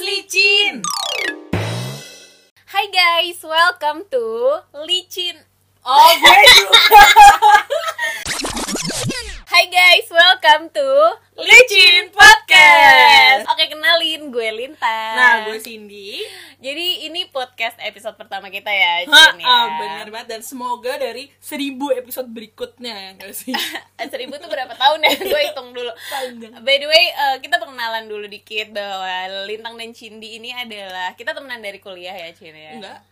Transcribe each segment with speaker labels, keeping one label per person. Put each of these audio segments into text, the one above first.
Speaker 1: licin.
Speaker 2: Hai guys, welcome to Licin.
Speaker 1: Oh, gue juga.
Speaker 2: Hai guys, welcome to
Speaker 1: licin
Speaker 2: Podcast.
Speaker 1: podcast.
Speaker 2: Oke, kenalin gue Lintas.
Speaker 1: Nah, gue Cindy.
Speaker 2: Jadi ini podcast episode pertama kita ya,
Speaker 1: Ha,
Speaker 2: Cin ya.
Speaker 1: ah, bener banget dan semoga dari 1000 episode berikutnya ya nggak sih?
Speaker 2: Eh, Seribu tuh berapa tahun ya? Gue hitung dulu.
Speaker 1: Panjang.
Speaker 2: By the way, eh, kita perkenalan dulu dikit bahwa Lintang dan Cindy ini adalah kita temenan dari kuliah ya, Cin ya.
Speaker 1: Enggak.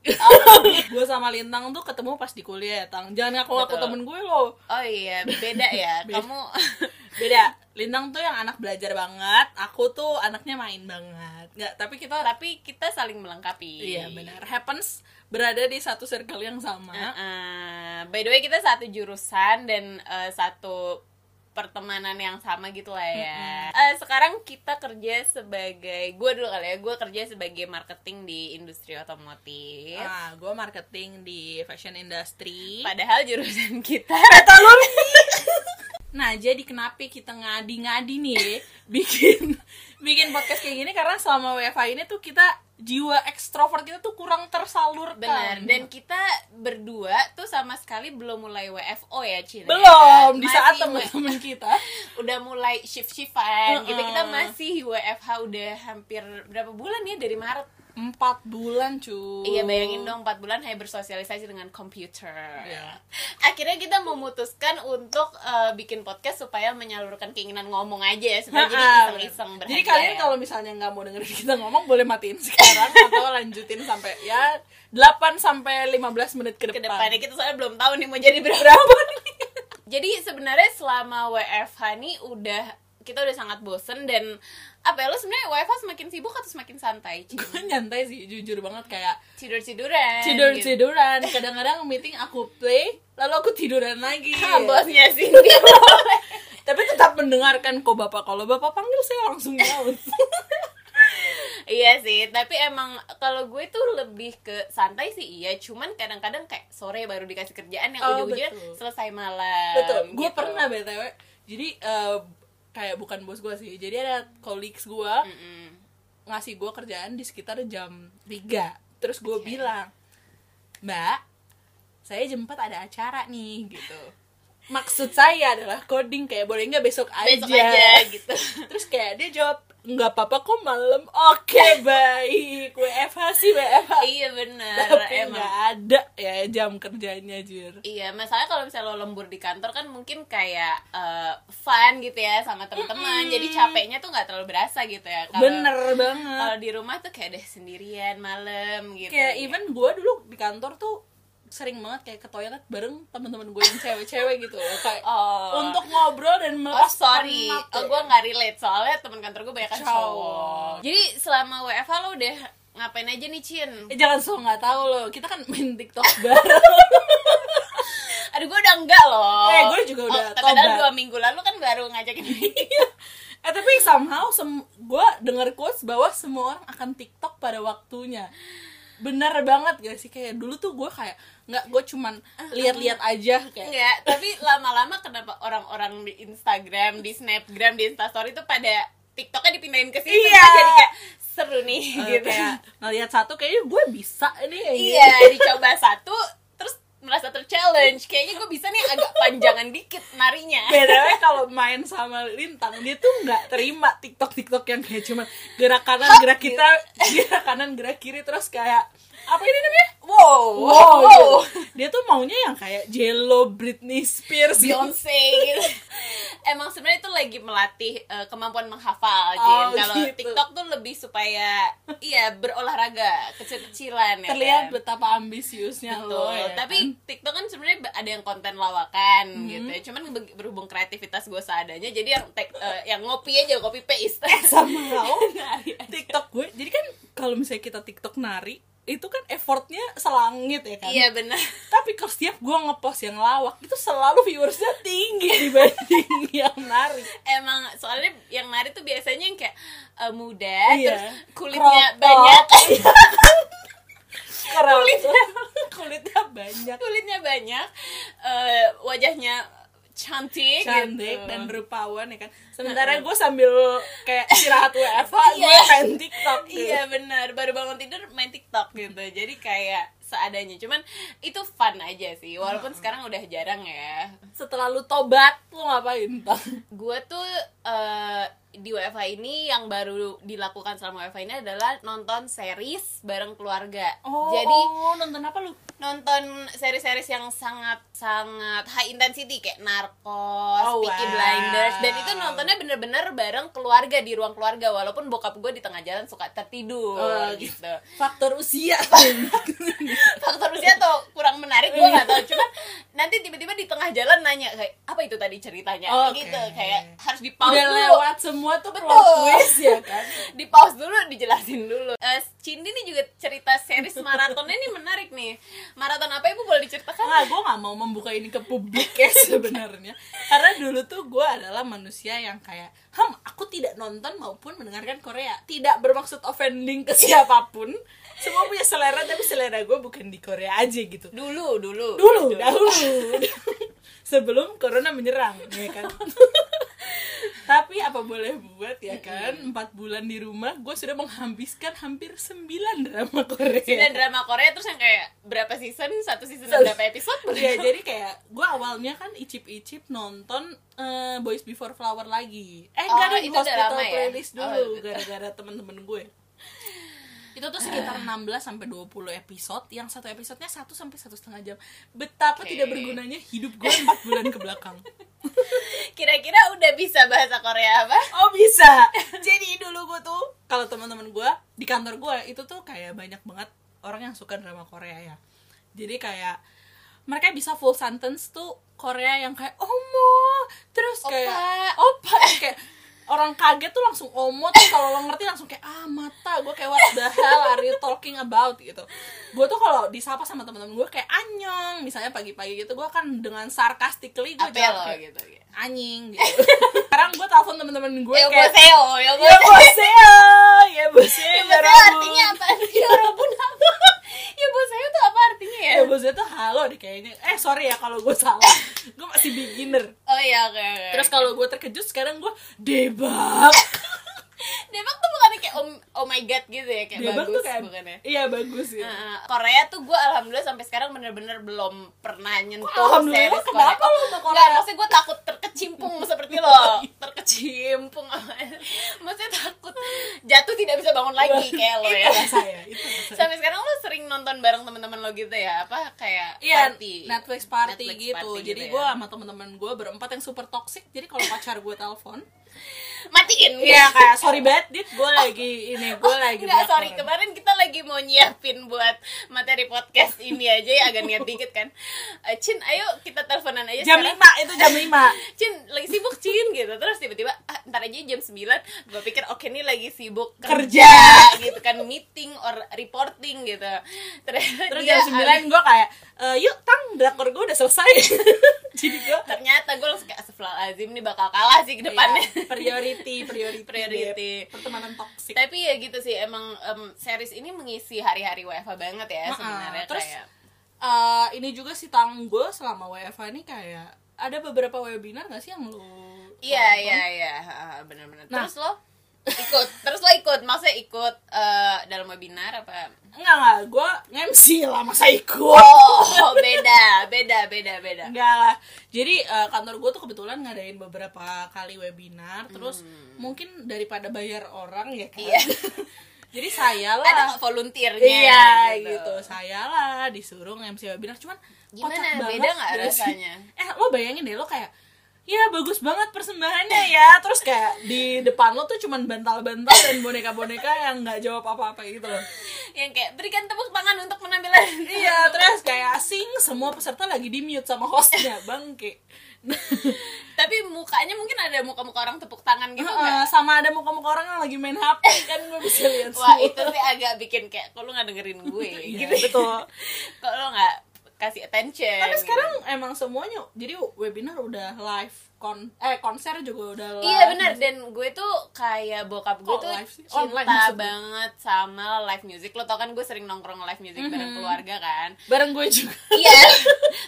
Speaker 2: Oh,
Speaker 1: gue sama Lintang tuh ketemu pas di kuliah, Tang. Jangan ngaku ngaku
Speaker 2: Betul.
Speaker 1: temen gue loh.
Speaker 2: oh iya, beda ya.
Speaker 1: Beda.
Speaker 2: Kamu
Speaker 1: Beda. Lintang tuh yang anak belajar banget, aku tuh anaknya main banget. Nggak, tapi kita
Speaker 2: tapi kita saling melengkapi.
Speaker 1: Iya benar. Happens berada di satu circle yang sama.
Speaker 2: Heeh. by the way kita satu jurusan dan eh, satu pertemanan yang sama gitu lah ya. Eh, sekarang kita kerja sebagai gue dulu kali ya, gue kerja sebagai marketing di industri otomotif.
Speaker 1: Ah, gue marketing di fashion industry.
Speaker 2: Padahal jurusan kita
Speaker 1: Nah, jadi kenapa kita ngadi-ngadi nih bikin bikin podcast kayak gini karena selama WFH ini tuh kita jiwa ekstrovert kita tuh kurang tersalurkan.
Speaker 2: benar dan kita berdua tuh sama sekali belum mulai WFO ya Cina.
Speaker 1: belum di
Speaker 2: Masih
Speaker 1: saat
Speaker 2: W-
Speaker 1: teman-teman kita
Speaker 2: udah mulai shift shiftan gitu
Speaker 1: Heeh.
Speaker 2: kita masih WFH udah hampir berapa bulan ya dari Maret
Speaker 1: empat bulan cu
Speaker 2: Iya bayangin dong 4 bulan saya bersosialisasi dengan komputer.
Speaker 1: Iya.
Speaker 2: Akhirnya kita memutuskan untuk eh, bikin podcast supaya menyalurkan keinginan ngomong aja ya, supaya jadi
Speaker 1: Ha-ha,
Speaker 2: iseng-iseng
Speaker 1: bener.
Speaker 2: berharga. ya.
Speaker 1: Jadi kalian kalau misalnya nggak mau dengerin kita ngomong boleh matiin sekarang atau lanjutin sampai ya 8 sampai 15 menit ke
Speaker 2: ke
Speaker 1: depan.
Speaker 2: depannya kita soalnya belum tahu nih mau jadi berapa nih. jadi sebenarnya selama WFH nih udah kita udah sangat bosen dan apa ya lo sebenarnya WFH semakin sibuk atau semakin santai?
Speaker 1: Gue nyantai sih jujur banget kayak
Speaker 2: Tidur-tiduran. gitu.
Speaker 1: tidur-tiduran. Kadang-kadang meeting aku play lalu aku tiduran lagi.
Speaker 2: Ah, bosnya sih dia boleh.
Speaker 1: Tapi tetap mendengarkan kok Bapak kalau Bapak panggil saya langsung nyaut.
Speaker 2: Iya sih, tapi emang kalau gue tuh lebih ke santai sih iya, cuman kadang-kadang kayak sore baru dikasih kerjaan yang
Speaker 1: Oh,
Speaker 2: ujung-ujungnya
Speaker 1: betul.
Speaker 2: selesai malam.
Speaker 1: Betul. Gue
Speaker 2: gitu.
Speaker 1: pernah BTW. Jadi eh, kayak bukan bos gue sih. Jadi ada colleagues gue
Speaker 2: Mm-mm.
Speaker 1: ngasih gue kerjaan di sekitar jam 3 terus gue bilang mbak saya jam 4 ada acara nih gitu maksud saya adalah coding kayak boleh nggak besok aja,
Speaker 2: Besok aja gitu.
Speaker 1: terus kayak dia jawab nggak apa-apa kok malam oke baik WFH sih WFH
Speaker 2: iya bener
Speaker 1: tapi
Speaker 2: emang.
Speaker 1: nggak ada ya jam kerjanya jir
Speaker 2: Iya, masalahnya kalau misalnya lo lembur di kantor kan mungkin kayak eh, fun gitu ya sama teman-teman. Jadi capeknya tuh nggak terlalu berasa gitu ya. Kalau-
Speaker 1: bener banget
Speaker 2: Kalau di rumah tuh kayak deh sendirian malam gitu.
Speaker 1: kayak even gue dulu di kantor tuh sering banget kayak ke toilet bareng teman-teman gue yang cewek-cewek gitu loh kayak
Speaker 2: Oh.
Speaker 1: untuk ngobrol dan
Speaker 2: Oh
Speaker 1: melepas
Speaker 2: sorry,
Speaker 1: penat
Speaker 2: oh,
Speaker 1: ya.
Speaker 2: gue nggak relate soalnya teman kantor gue banyak kan
Speaker 1: Cowok.
Speaker 2: cowok. Jadi selama WFH lo udah ngapain aja nih Cin?
Speaker 1: Eh, jangan so nggak tahu loh kita kan main tiktok bareng
Speaker 2: Aduh gue udah enggak loh.
Speaker 1: Eh, gue juga udah
Speaker 2: Oh, padahal
Speaker 1: tobat.
Speaker 2: dua minggu lalu kan baru ngajakin
Speaker 1: eh tapi somehow sem gue denger quotes bahwa semua orang akan tiktok pada waktunya bener banget gak sih kayak dulu tuh gue kayak nggak gue cuman
Speaker 2: Ah,
Speaker 1: lihat-lihat aja kayak eh,
Speaker 2: Enggak, tapi lama-lama kenapa orang-orang di Instagram, di Snapgram, di Instastory itu pada TikToknya dipindahin ke situ
Speaker 1: Iya.
Speaker 2: terus jadi kayak seru nih
Speaker 1: eh,
Speaker 2: gitu.
Speaker 1: kayak ngelihat satu kayaknya gue bisa nih kayak gitu.
Speaker 2: iya, dicoba satu terus merasa terchallenge. Kayaknya gue bisa nih agak panjangan dikit narinya.
Speaker 1: BTW kalau main sama Lintang dia tuh nggak terima TikTok TikTok yang kayak cuman gerak kanan gerak kita gerak kanan gerak kiri terus kayak apa ini namanya
Speaker 2: Wow,
Speaker 1: wow, gitu. dia tuh maunya yang kayak Jello Britney Spears gitu.
Speaker 2: Beyonce gitu. Emang sebenarnya itu lagi melatih eh, kemampuan menghafal,
Speaker 1: Oh,
Speaker 2: Jin. Kalau
Speaker 1: gitu.
Speaker 2: TikTok tuh lebih supaya iya berolahraga kecil-kecilan ya.
Speaker 1: terlihat
Speaker 2: kan?
Speaker 1: betapa ambisiusnya
Speaker 2: Betul.
Speaker 1: lo ya
Speaker 2: Tapi
Speaker 1: kan? Hmm.
Speaker 2: TikTok kan sebenarnya be- ada yang konten lawakan gitu ya. Cuman be- berhubung kreativitas gue seadanya, jadi yang tek- eh, yang ngopi aja copy paste.
Speaker 1: sama lo
Speaker 2: Nari aja.
Speaker 1: TikTok gue jadi kan kalau misalnya kita TikTok nari itu kan effortnya selangit ya kan
Speaker 2: Iya benar.
Speaker 1: tapi kalau setiap gue ngepost yang lawak itu selalu viewersnya tinggi dibanding yang nari
Speaker 2: Emang soalnya yang nari tuh biasanya yang kayak eh, muda
Speaker 1: Iya.
Speaker 2: terus
Speaker 1: Crop top.
Speaker 2: kulitnya banyak.
Speaker 1: kulitnya kulitnya banyak
Speaker 2: kulitnya banyak eh, wajahnya cantik
Speaker 1: cantik
Speaker 2: gitu.
Speaker 1: dan rupawan ya kan sementara gue sambil kayak istirahat WFH gue
Speaker 2: Iya.
Speaker 1: main TikTok gitu.
Speaker 2: Iya benar, baru bangun tidur main TikTok gitu. Jadi kayak seadanya. Cuman itu fun aja sih. Walaupun sekarang udah jarang ya.
Speaker 1: Setelah lu tobat, lu ngapain? Tang?
Speaker 2: Gue tuh eh, di WFH ini yang baru dilakukan selama WFH ini adalah nonton series bareng keluarga. Jadi
Speaker 1: oh, nonton apa lu?
Speaker 2: nonton series-series yang sangat sangat high intensity kayak Narcos,
Speaker 1: Oh,
Speaker 2: Peaky
Speaker 1: wow.
Speaker 2: Blinders dan itu nontonnya bener-bener bareng keluarga di ruang keluarga walaupun bokap gue di tengah jalan suka tertidur
Speaker 1: Oh,
Speaker 2: gitu.
Speaker 1: Faktor usia.
Speaker 2: Faktor usia tuh kurang menarik gue gak tau cuman nanti tiba-tiba di tengah jalan nanya kayak apa itu tadi ceritanya
Speaker 1: Oke.
Speaker 2: gitu kayak harus di pause
Speaker 1: Udah
Speaker 2: dulu.
Speaker 1: lewat semua tuh
Speaker 2: Betul.
Speaker 1: plot twist ya kan?
Speaker 2: di pause dulu dijelasin dulu Eh, Cindy nih juga cerita series maratonnya nih menarik nih maraton apa ibu boleh diceritakan
Speaker 1: Nggak, gue nggak mau membuka ini ke publik ya sebenarnya Karena dulu tuh gue adalah manusia yang kayak Ham, aku tidak nonton maupun mendengarkan Korea Tidak bermaksud offending ke siapapun Semua punya selera, tapi selera gue bukan di Korea aja gitu
Speaker 2: dulu dulu
Speaker 1: Dulu, dahulu Sebelum Corona menyerang, ya kan Tapi apa boleh buat ya kan Empat bulan di rumah, gue sudah menghabiskan hampir sembilan drama Korea
Speaker 2: dan drama Korea terus yang kayak berapa season satu season
Speaker 1: Iya. Satu-
Speaker 2: berapa episode
Speaker 1: Iya, jadi kayak gue awalnya kan icip-icip nonton eh, Boys Before Flower lagi. Eh, enggak ada
Speaker 2: Oh, itu udah
Speaker 1: hospital
Speaker 2: lama ya?
Speaker 1: playlist
Speaker 2: Oh,
Speaker 1: dulu
Speaker 2: betul.
Speaker 1: gara-gara temen-temen gue. Itu tuh sekitar
Speaker 2: Ah.
Speaker 1: 16 sampai 20 episode, yang satu episodenya 1 sampai satu setengah jam. Betapa
Speaker 2: Oke.
Speaker 1: tidak bergunanya hidup gue 4 bulan ke belakang.
Speaker 2: kira-kira udah bisa bahasa Korea apa
Speaker 1: Oh bisa. Jadi dulu gue tuh kalau teman-teman gue di kantor gue itu tuh kayak banyak banget orang yang suka drama Korea ya. Jadi kayak mereka bisa full sentence tuh Korea yang kayak omo terus kayak opa kayak orang kaget tuh langsung omo tuh kalau lo ngerti langsung kayak ah mata gue kayak what the hell are you talking about gitu gue tuh kalau disapa sama teman-teman gue kayak anyong misalnya pagi-pagi gitu gue kan dengan sarcastically gue
Speaker 2: apa ya lo
Speaker 1: kayak,
Speaker 2: gitu ya
Speaker 1: anjing gitu sekarang gue telepon teman-teman gue
Speaker 2: yo
Speaker 1: kayak
Speaker 2: boseo yo
Speaker 1: ya
Speaker 2: boseo
Speaker 1: boseo ya boseo
Speaker 2: yo
Speaker 1: ya
Speaker 2: boseo
Speaker 1: rabun.
Speaker 2: artinya apa yo rabun apa yo boseo Ya, tuh apa artinya ya
Speaker 1: ya boseo tuh halo deh kayaknya eh sorry ya kalau gue salah gue masih beginner
Speaker 2: oh iya oke oke
Speaker 1: terus kalau gue terkejut sekarang gue debak
Speaker 2: Debak tuh bukannya kayak om oh my god gitu ya kayak
Speaker 1: debak
Speaker 2: bagus
Speaker 1: tuh kayak
Speaker 2: bukannya
Speaker 1: iya bagus ya
Speaker 2: Heeh. Korea tuh gue alhamdulillah sampai sekarang bener-bener belum pernah nyentuh
Speaker 1: alhamdulillah?
Speaker 2: series
Speaker 1: Kenapa lu sama Korea?
Speaker 2: Nggak, maksudnya gue takut terkecimpung
Speaker 1: Hmm.
Speaker 2: seperti lo Terkecimpung Maksudnya takut jatuh tidak bisa bangun lagi
Speaker 1: Iya.
Speaker 2: kayak lo ya
Speaker 1: itu saya itu rasa saya.
Speaker 2: Sampai sekarang lo sering nonton bareng teman-teman lo gitu ya? Apa kayak
Speaker 1: Iya,
Speaker 2: party?
Speaker 1: Netflix party
Speaker 2: Netflix
Speaker 1: gitu.
Speaker 2: party
Speaker 1: jadi
Speaker 2: gitu
Speaker 1: gue
Speaker 2: ya.
Speaker 1: sama teman-teman gue berempat yang super toxic. Jadi kalau pacar gue telepon,
Speaker 2: matiin
Speaker 1: iya kayak sorry banget, dit gue lagi ini gue lagi.
Speaker 2: Enggak,
Speaker 1: banyak
Speaker 2: sorry.
Speaker 1: orang."
Speaker 2: Kemarin kita lagi mau nyiapin buat materi podcast ini aja ya agak niat dikit kan. Eh, Cin, ayo kita teleponan aja
Speaker 1: jam
Speaker 2: sekarang.
Speaker 1: 5 itu jam 5
Speaker 2: Cin, lagi sibuk Cin gitu. Terus tiba-tiba ah, ntar aja jam 9 gue pikir oke nih lagi sibuk kerja,
Speaker 1: Kerja.
Speaker 2: gitu kan meeting or reporting gitu. Ternyata
Speaker 1: Terus
Speaker 2: dia
Speaker 1: jam 9 gue kayak, e, yuk tang, drakor gue udah selesai Jadi gue
Speaker 2: ternyata gue langsung kayak Azim nih bakal kalah sih ke depannya.
Speaker 1: Iya, priority, priority
Speaker 2: Priority.
Speaker 1: Beb. Pertemanan toksik
Speaker 2: Tapi ya gitu sih emang em, series ini mengisi hari-hari WFH banget ya
Speaker 1: Ma-ah.
Speaker 2: sebenarnya
Speaker 1: Terus,
Speaker 2: kayak.
Speaker 1: Eh, Ini juga sih tang gue selama WFH ini kayak Ada beberapa webinar gak sih yang lu tonton?
Speaker 2: Iya iya iya Ha, ha, benar-benar.
Speaker 1: Nah.
Speaker 2: Terus lo ikut, terus lo ikut, maksudnya ikut eh, dalam webinar apa?
Speaker 1: Enggak, enggak, gue nge-MC lah, masa ikut
Speaker 2: Oh beda beda beda beda.
Speaker 1: Enggak lah. Jadi eh, kantor gue tuh kebetulan ngadain beberapa kali webinar. Terus mungkin daripada bayar orang ya kan.
Speaker 2: Iya.
Speaker 1: Jadi saya lah.
Speaker 2: Ada nggak volunteernya?
Speaker 1: iya gitu. Saya lah disuruh MC webinar. Cuman
Speaker 2: Gimana?
Speaker 1: kocak banget
Speaker 2: Beda nggak
Speaker 1: nggak sih?
Speaker 2: rasanya?
Speaker 1: Eh lo bayangin deh lo kayak Ya bagus banget persembahannya ya Terus kayak di depan lo tuh cuman bantal-bantal dan boneka-boneka yang nggak jawab apa-apa gitu loh
Speaker 2: Yang kayak berikan tepuk tangan untuk penampilan.
Speaker 1: Iya terus kayak asing semua peserta lagi di mute sama hostnya Bangke
Speaker 2: Tapi mukanya mungkin ada muka-muka orang tepuk tangan gitu
Speaker 1: Heeh,
Speaker 2: nggak?
Speaker 1: Eh, sama ada muka-muka orang yang lagi main HP kan gue bisa lihat
Speaker 2: Wah
Speaker 1: semua.
Speaker 2: itu sih agak bikin kayak kok lu nggak dengerin gue
Speaker 1: Iya,
Speaker 2: gitu.
Speaker 1: betul.
Speaker 2: Kok lu nggak kasih attention?
Speaker 1: Tapi sekarang
Speaker 2: gitu.
Speaker 1: emang semuanya jadi webinar udah live kon eh konser juga udah live.
Speaker 2: Iya benar dan gue tuh kayak bokap gue
Speaker 1: Kok
Speaker 2: tuh
Speaker 1: live sih?
Speaker 2: cinta
Speaker 1: Online maksud gue.
Speaker 2: banget sama live music. Lo tau kan gue sering nongkrong live music
Speaker 1: Mhm.
Speaker 2: bareng keluarga kan?
Speaker 1: Bareng gue juga.
Speaker 2: Iya.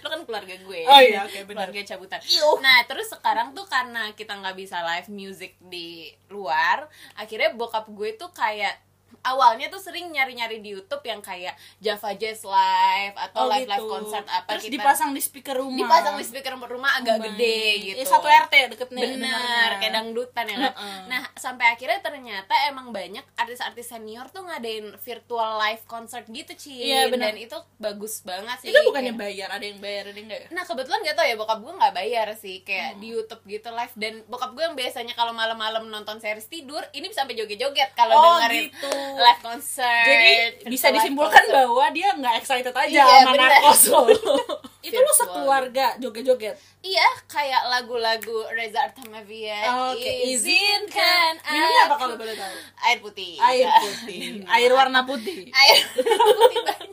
Speaker 2: Lo kan keluarga gue.
Speaker 1: Oh iya, oke, benar.
Speaker 2: Keluarga cabutan.
Speaker 1: Iuh.
Speaker 2: Nah, terus sekarang tuh karena kita nggak bisa live music di luar, akhirnya bokap gue tuh kayak awalnya tuh sering nyari-nyari di YouTube yang kayak Java Jazz Live atau live live concert Oh, apa
Speaker 1: Oh, gitu. terus
Speaker 2: kita
Speaker 1: dipasang di speaker rumah Oh
Speaker 2: dipasang di speaker rumah agak
Speaker 1: Rumah.
Speaker 2: gede gitu
Speaker 1: Ya, satu RT deket nih
Speaker 2: bener
Speaker 1: dengarnya.
Speaker 2: kayak dangdutan ya kan?
Speaker 1: Heeh.
Speaker 2: nah sampai akhirnya ternyata emang banyak artis-artis senior tuh ngadain virtual live concert gitu Ci
Speaker 1: Iya, bener.
Speaker 2: dan itu bagus banget sih
Speaker 1: itu bukannya
Speaker 2: Kayak- gitu.
Speaker 1: bayar ada yang bayar ada yang enggak ya?
Speaker 2: Nah kebetulan gak tau ya bokap gue gak bayar sih
Speaker 1: Hmm.
Speaker 2: Kayak di Youtube gitu live Dan bokap gue yang biasanya kalau malam-malam nonton series tidur Ini bisa sampai joget-joget kalau
Speaker 1: Oh,
Speaker 2: dengerin
Speaker 1: gitu.
Speaker 2: live concert
Speaker 1: jadi bisa
Speaker 2: live
Speaker 1: disimpulkan
Speaker 2: concert.
Speaker 1: bahwa dia nggak excited aja
Speaker 2: Iya,
Speaker 1: sama
Speaker 2: bener.
Speaker 1: narkos lo itu lo
Speaker 2: Virtual.
Speaker 1: sekeluarga joget-joget
Speaker 2: Iya kayak lagu-lagu Reza Artamevia
Speaker 1: Oke,
Speaker 2: Eh, Izinkan
Speaker 1: minumnya apa
Speaker 2: aku- Iya.
Speaker 1: kalau boleh tahu
Speaker 2: Air putih
Speaker 1: air putih air warna putih
Speaker 2: Air putih banyak.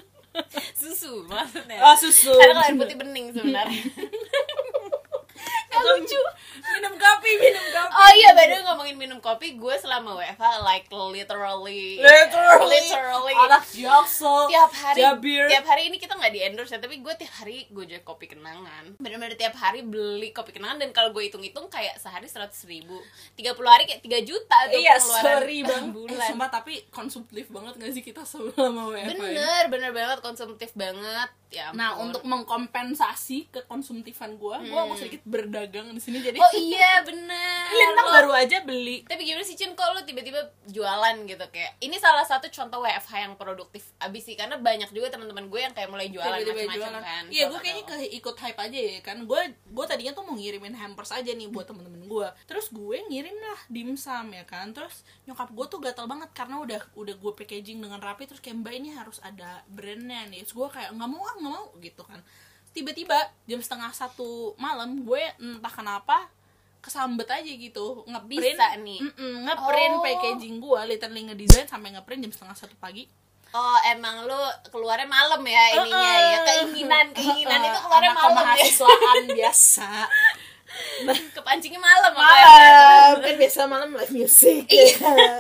Speaker 2: Susu maksudnya
Speaker 1: oh susu
Speaker 2: Karena kalau air putih bening sebenarnya Gak
Speaker 1: Atau-
Speaker 2: lucu
Speaker 1: Eh, minum kopi minum kopi
Speaker 2: Oh iya, by the way, ngomongin minum kopi, gue selama WFH like literally,
Speaker 1: literally,
Speaker 2: literally.
Speaker 1: anak jaksel
Speaker 2: tiap hari,
Speaker 1: Jabir.
Speaker 2: tiap hari ini kita nggak di endorse ya, tapi gue tiap hari gue jual kopi kenangan. Bener-bener tiap hari beli kopi kenangan dan kalau gue hitung-hitung kayak sehari seratus ribu, 30 hari kayak 3 juta tuh
Speaker 1: iya
Speaker 2: pengeluaran
Speaker 1: sorry
Speaker 2: per
Speaker 1: bang eh,
Speaker 2: bulan.
Speaker 1: sumpah tapi konsumtif banget gak sih kita selama WFH ini?
Speaker 2: bener, bener banget konsumtif banget. Ya.
Speaker 1: Nah,
Speaker 2: ampun.
Speaker 1: untuk mengkompensasi kekonsumtifan gue, gue mau sedikit berdagang di sini jadi
Speaker 2: oh iya bener.
Speaker 1: Lintang
Speaker 2: Lo-
Speaker 1: baru aja beli
Speaker 2: Tapi gimana sih Cin kok lu tiba-tiba jualan gitu kayak ini salah satu contoh WFH yang produktif abis sih karena banyak juga teman-teman gue yang kayak mulai jualan
Speaker 1: Tiba-tiba
Speaker 2: macam-macam
Speaker 1: jualan.
Speaker 2: kan.
Speaker 1: Iya,
Speaker 2: Salah
Speaker 1: gue
Speaker 2: satu-
Speaker 1: kayaknya ke ikut hype aja ya kan. Gue gue tadinya tuh mau ngirimin hampers aja nih buat temen-temen gue. Terus gue ngirim lah dimsum ya kan. Terus nyokap gue tuh gatel banget karena udah udah gue packaging dengan rapi. Terus kayak mbak ini harus ada brandnya nih. Terus gue kayak nggak mau ah nggak mau gitu kan. Tiba-tiba jam setengah satu malam gue entah kenapa kesambet aja gitu ngeprint
Speaker 2: Bisa nih.
Speaker 1: Mm-mm, ngeprint
Speaker 2: Oh.
Speaker 1: packaging gue literally ngedesain sampai ngeprint jam setengah satu pagi
Speaker 2: Oh, emang lu keluarnya malam ya ininya
Speaker 1: Heeh.
Speaker 2: ya keinginan keinginan itu
Speaker 1: Eh,
Speaker 2: keluarnya
Speaker 1: anak
Speaker 2: malam ya.
Speaker 1: kemahasiswaan biasa
Speaker 2: Kepancingnya malam Iya. apa
Speaker 1: malam kan biasa malam live music ya kan?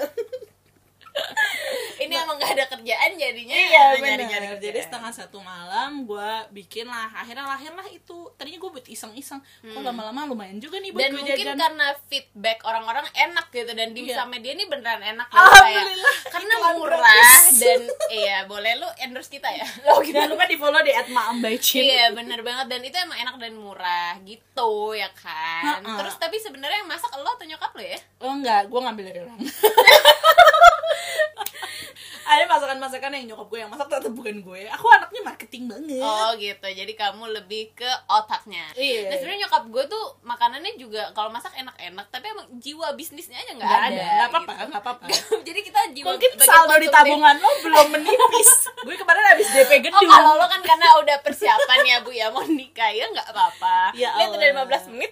Speaker 2: Ini emang gak ada kerjaan jadinya.
Speaker 1: Iya, bener. jadi
Speaker 2: nyari-nyari kerjaan.
Speaker 1: setengah satu malam gue bikin lah akhirnya lahirlah itu tadinya gue buat iseng-iseng kok lama-lama lumayan juga nih buat
Speaker 2: Hmm. dan
Speaker 1: gue
Speaker 2: mungkin kan-
Speaker 1: jajan
Speaker 2: karena feedback orang-orang enak gitu dan di
Speaker 1: Iya.
Speaker 2: sama dia ini beneran enak gitu,
Speaker 1: Alhamdulillah,
Speaker 2: kayak- karena
Speaker 1: iklan
Speaker 2: murah
Speaker 1: gratis. Oh, gitu.
Speaker 2: dan iya boleh lu endorse kita ya
Speaker 1: lo jangan lupa di follow di @maambaycin
Speaker 2: iya bener banget dan itu emang enak dan murah gitu ya kan
Speaker 1: Ha-ha.
Speaker 2: terus tapi sebenarnya yang masak lo atau nyokap lo ya
Speaker 1: oh enggak gue ngambil dari orang ada masakan-masakan yang nyokap gue yang masak tetap bukan gue aku anaknya marketing banget
Speaker 2: Oh gitu, jadi kamu lebih ke otaknya.
Speaker 1: Iya.
Speaker 2: Nah sebenarnya nyokap gue tuh makanannya juga kalau masak enak-enak, tapi emang jiwa bisnisnya aja nggak
Speaker 1: Nggak
Speaker 2: ada.
Speaker 1: nggak apa-apa
Speaker 2: gitu.
Speaker 1: nggak apa-apa
Speaker 2: jadi kita jiwa
Speaker 1: mungkin
Speaker 2: sebagai
Speaker 1: saldo di
Speaker 2: konsumtif-
Speaker 1: tabungan lo belum menipis gue kemarin habis DP
Speaker 2: Oh
Speaker 1: gedung
Speaker 2: kalau lo kan karena udah persiapan ya Bu ya mau nikah ya nggak apa-apa.
Speaker 1: Ya
Speaker 2: Lihat udah
Speaker 1: Allah.
Speaker 2: 15 menit.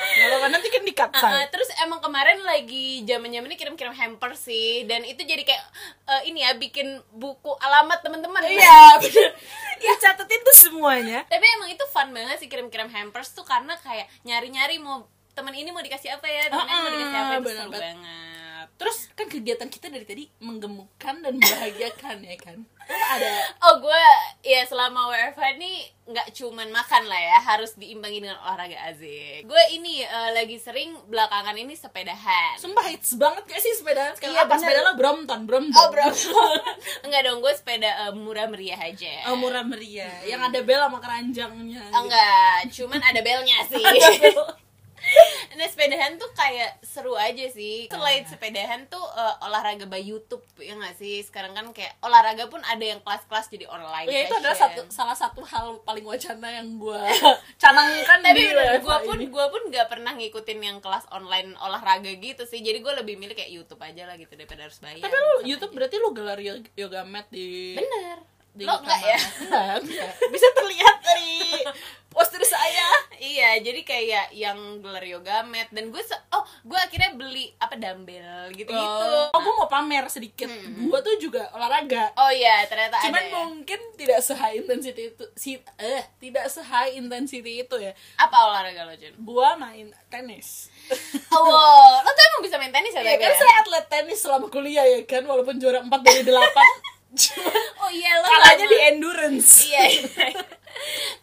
Speaker 1: kalau kan nanti kan di cut
Speaker 2: Uh, uh, terus emang kemarin lagi zaman zaman ini kirim-kirim hamper sih dan itu jadi kayak uh, ini ya bikin buku alamat teman-teman.
Speaker 1: iya bener ya catetin tuh semuanya
Speaker 2: Tapi emang itu fun banget sih kirim-kirim hampers tuh karena kayak nyari-nyari mau teman ini mau dikasih apa ya, teman ini mau dikasih apa itu
Speaker 1: Bener
Speaker 2: seru
Speaker 1: banget.
Speaker 2: banget.
Speaker 1: terus kan kegiatan kita dari tadi menggemukkan dan membahagiakan ya kan Lo ada
Speaker 2: Oh gue ya selama WFH nih nggak cuman makan lah ya harus diimbangi dengan olahraga azik. Gue ini eh, lagi sering belakangan ini sepedahan.
Speaker 1: sumpah hits banget gak sih sepedaan sekarang
Speaker 2: Iya,
Speaker 1: apa
Speaker 2: bener.
Speaker 1: sepeda lo Brompton Brompton
Speaker 2: Oh bro, enggak dong gue sepeda eh, murah meriah aja.
Speaker 1: Oh, murah meriah yang ada bel sama keranjangnya
Speaker 2: Oh, enggak, cuman ada belnya sih. Nah sepedahan tuh kayak seru aja sih Selain
Speaker 1: Iya.
Speaker 2: sepedahan tuh eh, olahraga by Youtube ya gak sih? Sekarang kan kayak olahraga pun ada yang kelas-kelas jadi online
Speaker 1: ya itu adalah
Speaker 2: session.
Speaker 1: satu salah satu hal paling wacana yang gue canangkan
Speaker 2: Tapi
Speaker 1: di
Speaker 2: bener,
Speaker 1: WFH
Speaker 2: gue pun
Speaker 1: ini.
Speaker 2: gua pun gak pernah ngikutin yang kelas online olahraga gitu sih Jadi gue lebih milih kayak Youtube aja lah gitu daripada harus bayar
Speaker 1: Tapi lu
Speaker 2: Sama
Speaker 1: YouTube
Speaker 2: aja.
Speaker 1: berarti lu gelar yo- yoga mat di
Speaker 2: Bener
Speaker 1: di
Speaker 2: Lo enggak ya?
Speaker 1: Enggak, enggak. Bisa terlihat dari poster saya.
Speaker 2: Iya, jadi kayak yang gelar yoga mat dan gue se- oh gue akhirnya beli apa dumbbell gitu-gitu.
Speaker 1: Oh, gue mau pamer sedikit. Gue tuh juga olahraga.
Speaker 2: Oh iya, ternyata
Speaker 1: Cuman
Speaker 2: ada. ya.
Speaker 1: mungkin tidak se-high intensity itu si eh tidak se-high intensity itu ya.
Speaker 2: Apa olahraga lo, Jun?
Speaker 1: Gua main tenis.
Speaker 2: Oh, wow. lo tuh emang bisa main tenis ya,
Speaker 1: Iya
Speaker 2: tapi
Speaker 1: kan
Speaker 2: ya?
Speaker 1: saya atlet tenis selama kuliah ya kan walaupun juara 4 dari 8. Cuman
Speaker 2: Oh iya, lo
Speaker 1: kalahnya
Speaker 2: sama-
Speaker 1: di endurance.
Speaker 2: Iya. iya.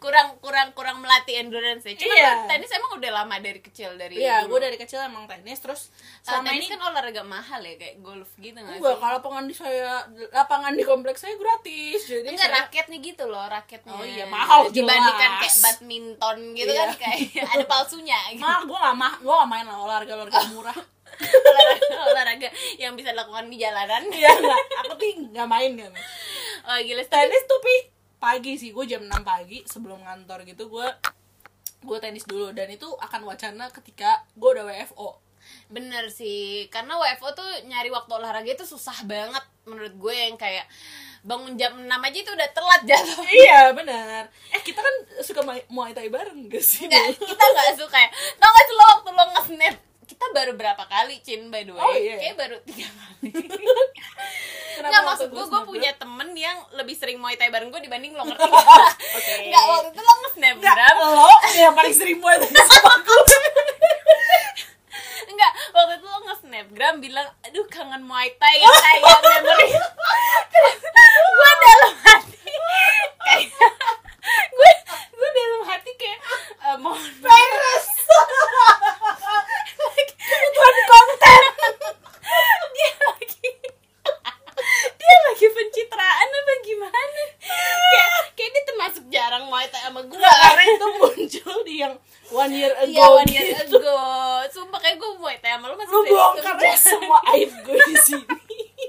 Speaker 2: kurang kurang kurang melatih endurance ya cuma
Speaker 1: Iya.
Speaker 2: tenis emang udah lama dari kecil dari
Speaker 1: Iya,
Speaker 2: dulu.
Speaker 1: gue dari kecil emang Eh, tenis terus
Speaker 2: Ah,
Speaker 1: selama
Speaker 2: tenis
Speaker 1: ini
Speaker 2: kan olahraga mahal ya kayak golf gitu nggak
Speaker 1: enggak
Speaker 2: sih
Speaker 1: kalau pengen di saya lapangan di kompleks saya gratis. Jadi
Speaker 2: Enggak
Speaker 1: saya-
Speaker 2: raketnya gitu loh, raketnya.
Speaker 1: ya. Oh iya, mahal
Speaker 2: dibandingkan
Speaker 1: jelas.
Speaker 2: kayak badminton gitu
Speaker 1: Iya.
Speaker 2: kan kayak ada palsunya gitu.
Speaker 1: Malah gue gak, mah, gue gak main lah olahraga olahraga
Speaker 2: Oh.
Speaker 1: murah.
Speaker 2: olahraga, olahraga yang bisa dilakukan di jalanan.
Speaker 1: Iya enggak, aku tuh gak main kan.
Speaker 2: Oh, gila tapi-
Speaker 1: Tenis tuh pi pagi sih, gue jam 6 pagi sebelum kantor gitu gue gue tenis dulu dan itu akan wacana ketika gue udah WFO.
Speaker 2: Bener sih, karena WFO tuh nyari waktu olahraga itu susah banget menurut gue yang kayak bangun jam 6 aja itu udah telat jatuh.
Speaker 1: iya benar. Eh kita kan suka main muay thai bareng gak sih? dulu?
Speaker 2: Nggak, kita nggak suka ya. Tau gak sih lo waktu lo nge-snap kita baru berapa kali Cin by the way
Speaker 1: Oh, iya.
Speaker 2: Kayaknya baru tiga kali
Speaker 1: Kenapa
Speaker 2: Nggak
Speaker 1: waktu
Speaker 2: maksud gue, gue
Speaker 1: snapgram?
Speaker 2: punya temen yang lebih sering muay thai bareng gue dibanding lo ngerti Nggak, waktu itu lo
Speaker 1: Enggak,
Speaker 2: nge-snapgram
Speaker 1: lo yang paling sering muay thai sama
Speaker 2: Enggak, waktu itu lo nge-snapgram bilang, aduh kangen Muay Thai kayak memory. gue dalam hati kayak gue gue dalam hati kayak eh, mohon virus kebutuhan konten dia lagi dia lagi pencitraan apa gimana kayak kayak dia termasuk jarang muay thai sama gue
Speaker 1: karena itu muncul di yang one year ago
Speaker 2: Iya, one year
Speaker 1: gitu.
Speaker 2: ago. Sumpah kayak gue Muay Thai sama lu masih
Speaker 1: lu
Speaker 2: sering
Speaker 1: bongkar
Speaker 2: kerja.
Speaker 1: ya semua aib gue di sini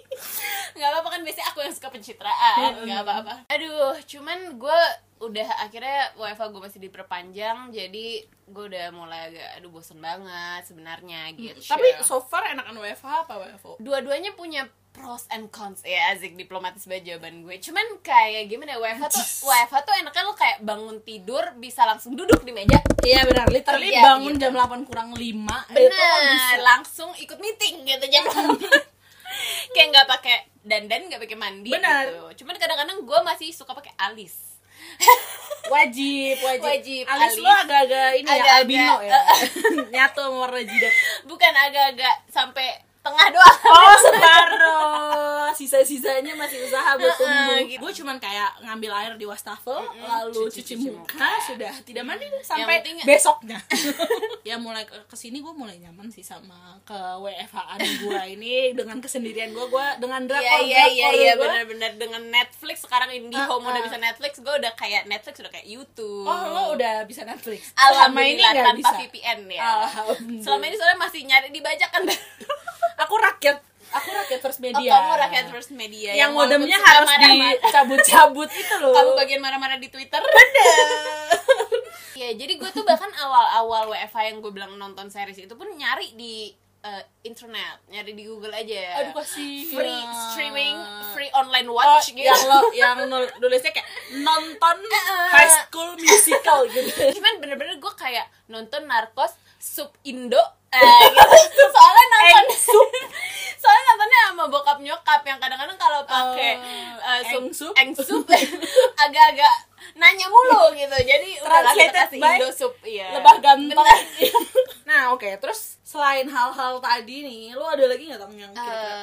Speaker 2: Nggak apa-apa kan biasanya aku yang suka pencitraan,
Speaker 1: Mm-mm.
Speaker 2: nggak apa-apa. Aduh, cuman gue udah akhirnya WFA gue masih diperpanjang, jadi gue udah mulai agak aduh bosen banget
Speaker 1: Mm,
Speaker 2: sebenarnya gitu.
Speaker 1: tapi so far enakan WFH apa WFO
Speaker 2: dua-duanya punya pros and cons ya asik diplomatis banget jawaban gue cuman kayak gimana ya, WFH tuh WFH tuh enaknya lo kayak bangun tidur bisa langsung duduk di meja
Speaker 1: iya benar literally
Speaker 2: Iya,
Speaker 1: bangun
Speaker 2: gitu.
Speaker 1: jam 8 kurang 5 itu lo bisa
Speaker 2: bener langsung ikut meeting gitu jam 8. kayak nggak pakai dandan nggak pakai mandi
Speaker 1: Bener.
Speaker 2: gitu cuman kadang-kadang gue masih suka pakai alis
Speaker 1: wajib wajib,
Speaker 2: Wajib,
Speaker 1: alis,
Speaker 2: alis.
Speaker 1: lo agak-agak ini ya
Speaker 2: Agak-agak,
Speaker 1: albino ya
Speaker 2: eh,
Speaker 1: nyatu sama warna jidat
Speaker 2: bukan agak-agak sampai tengah doang
Speaker 1: Oh separuh Sisa-sisanya masih usaha buat
Speaker 2: Heeh,
Speaker 1: tumbuh
Speaker 2: gitu.
Speaker 1: Gue cuman kayak ngambil air di wastafel Lalu cuci,
Speaker 2: cuci-cuci
Speaker 1: muka, Sudah tidak mandi deh,
Speaker 2: Yang
Speaker 1: sampai
Speaker 2: penting-
Speaker 1: besoknya Ya mulai ke kesini gue mulai nyaman sih sama Ke WFH gue ini Dengan kesendirian gue gue Dengan
Speaker 2: Iya
Speaker 1: drakor
Speaker 2: iya iya iya
Speaker 1: gua.
Speaker 2: benar-benar dengan Netflix sekarang IndiHome
Speaker 1: Ah,
Speaker 2: udah
Speaker 1: ah.
Speaker 2: bisa Netflix gue udah kayak Netflix udah kayak YouTube
Speaker 1: Oh lo udah bisa Netflix Selama ini
Speaker 2: Alhamdulillah
Speaker 1: gak
Speaker 2: tanpa
Speaker 1: bisa
Speaker 2: VPN ya.
Speaker 1: Alhamdulillah.
Speaker 2: Selama ini soalnya masih nyari kan. dibajakan.
Speaker 1: Aku rakyat Aku rakyat first
Speaker 2: Oh,
Speaker 1: media
Speaker 2: kamu rakyat first media
Speaker 1: Iya. Yang
Speaker 2: walaupun
Speaker 1: modemnya
Speaker 2: suka
Speaker 1: harus
Speaker 2: marah-marah.
Speaker 1: dicabut-cabut itu loh
Speaker 2: Kamu bagian marah-marah di Twitter. Iya, jadi gue tuh bahkan awal-awal WFH yang gue bilang nonton series itu pun nyari di eh, internet, nyari di Google aja.
Speaker 1: Aduh kasih
Speaker 2: free streaming, free online watch gitu.
Speaker 1: ya. Oh, yang lo yang nul- nulisnya kayak nonton High School Musical gitu
Speaker 2: cuman bener-bener gue kayak nonton narkos sub indo eh, gitu. soalnya nonton soalnya nontonnya sama bokap nyokap yang kadang-kadang kalau pakai
Speaker 1: Oh,
Speaker 2: eh, sub-
Speaker 1: eng sup.
Speaker 2: eng sup, agak-agak nanya mulu gitu jadi udah lah
Speaker 1: Translated
Speaker 2: kita kasih
Speaker 1: by
Speaker 2: indo sub iya
Speaker 1: lebah ganteng
Speaker 2: Bener.
Speaker 1: nah oke terus selain hal-hal tadi nih lo ada lagi nggak tamu yang kira-kira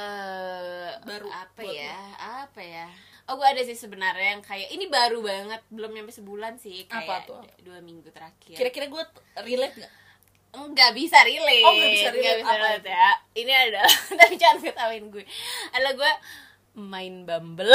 Speaker 2: eh
Speaker 1: Baru
Speaker 2: apa
Speaker 1: buat
Speaker 2: ya apa ya oh gue ada sih sebenarnya yang kayak ini baru banget belum nyampe sebulan sih kayak
Speaker 1: Apa tuh?
Speaker 2: d- dua minggu terakhir
Speaker 1: kira-kira gue t- relate nggak
Speaker 2: nggak bisa relate
Speaker 1: Oh, nggak bisa relate.
Speaker 2: Nggak bisa
Speaker 1: Apa
Speaker 2: relate ya ini adalah tapi jangan ketawain gue adalah gue main bumble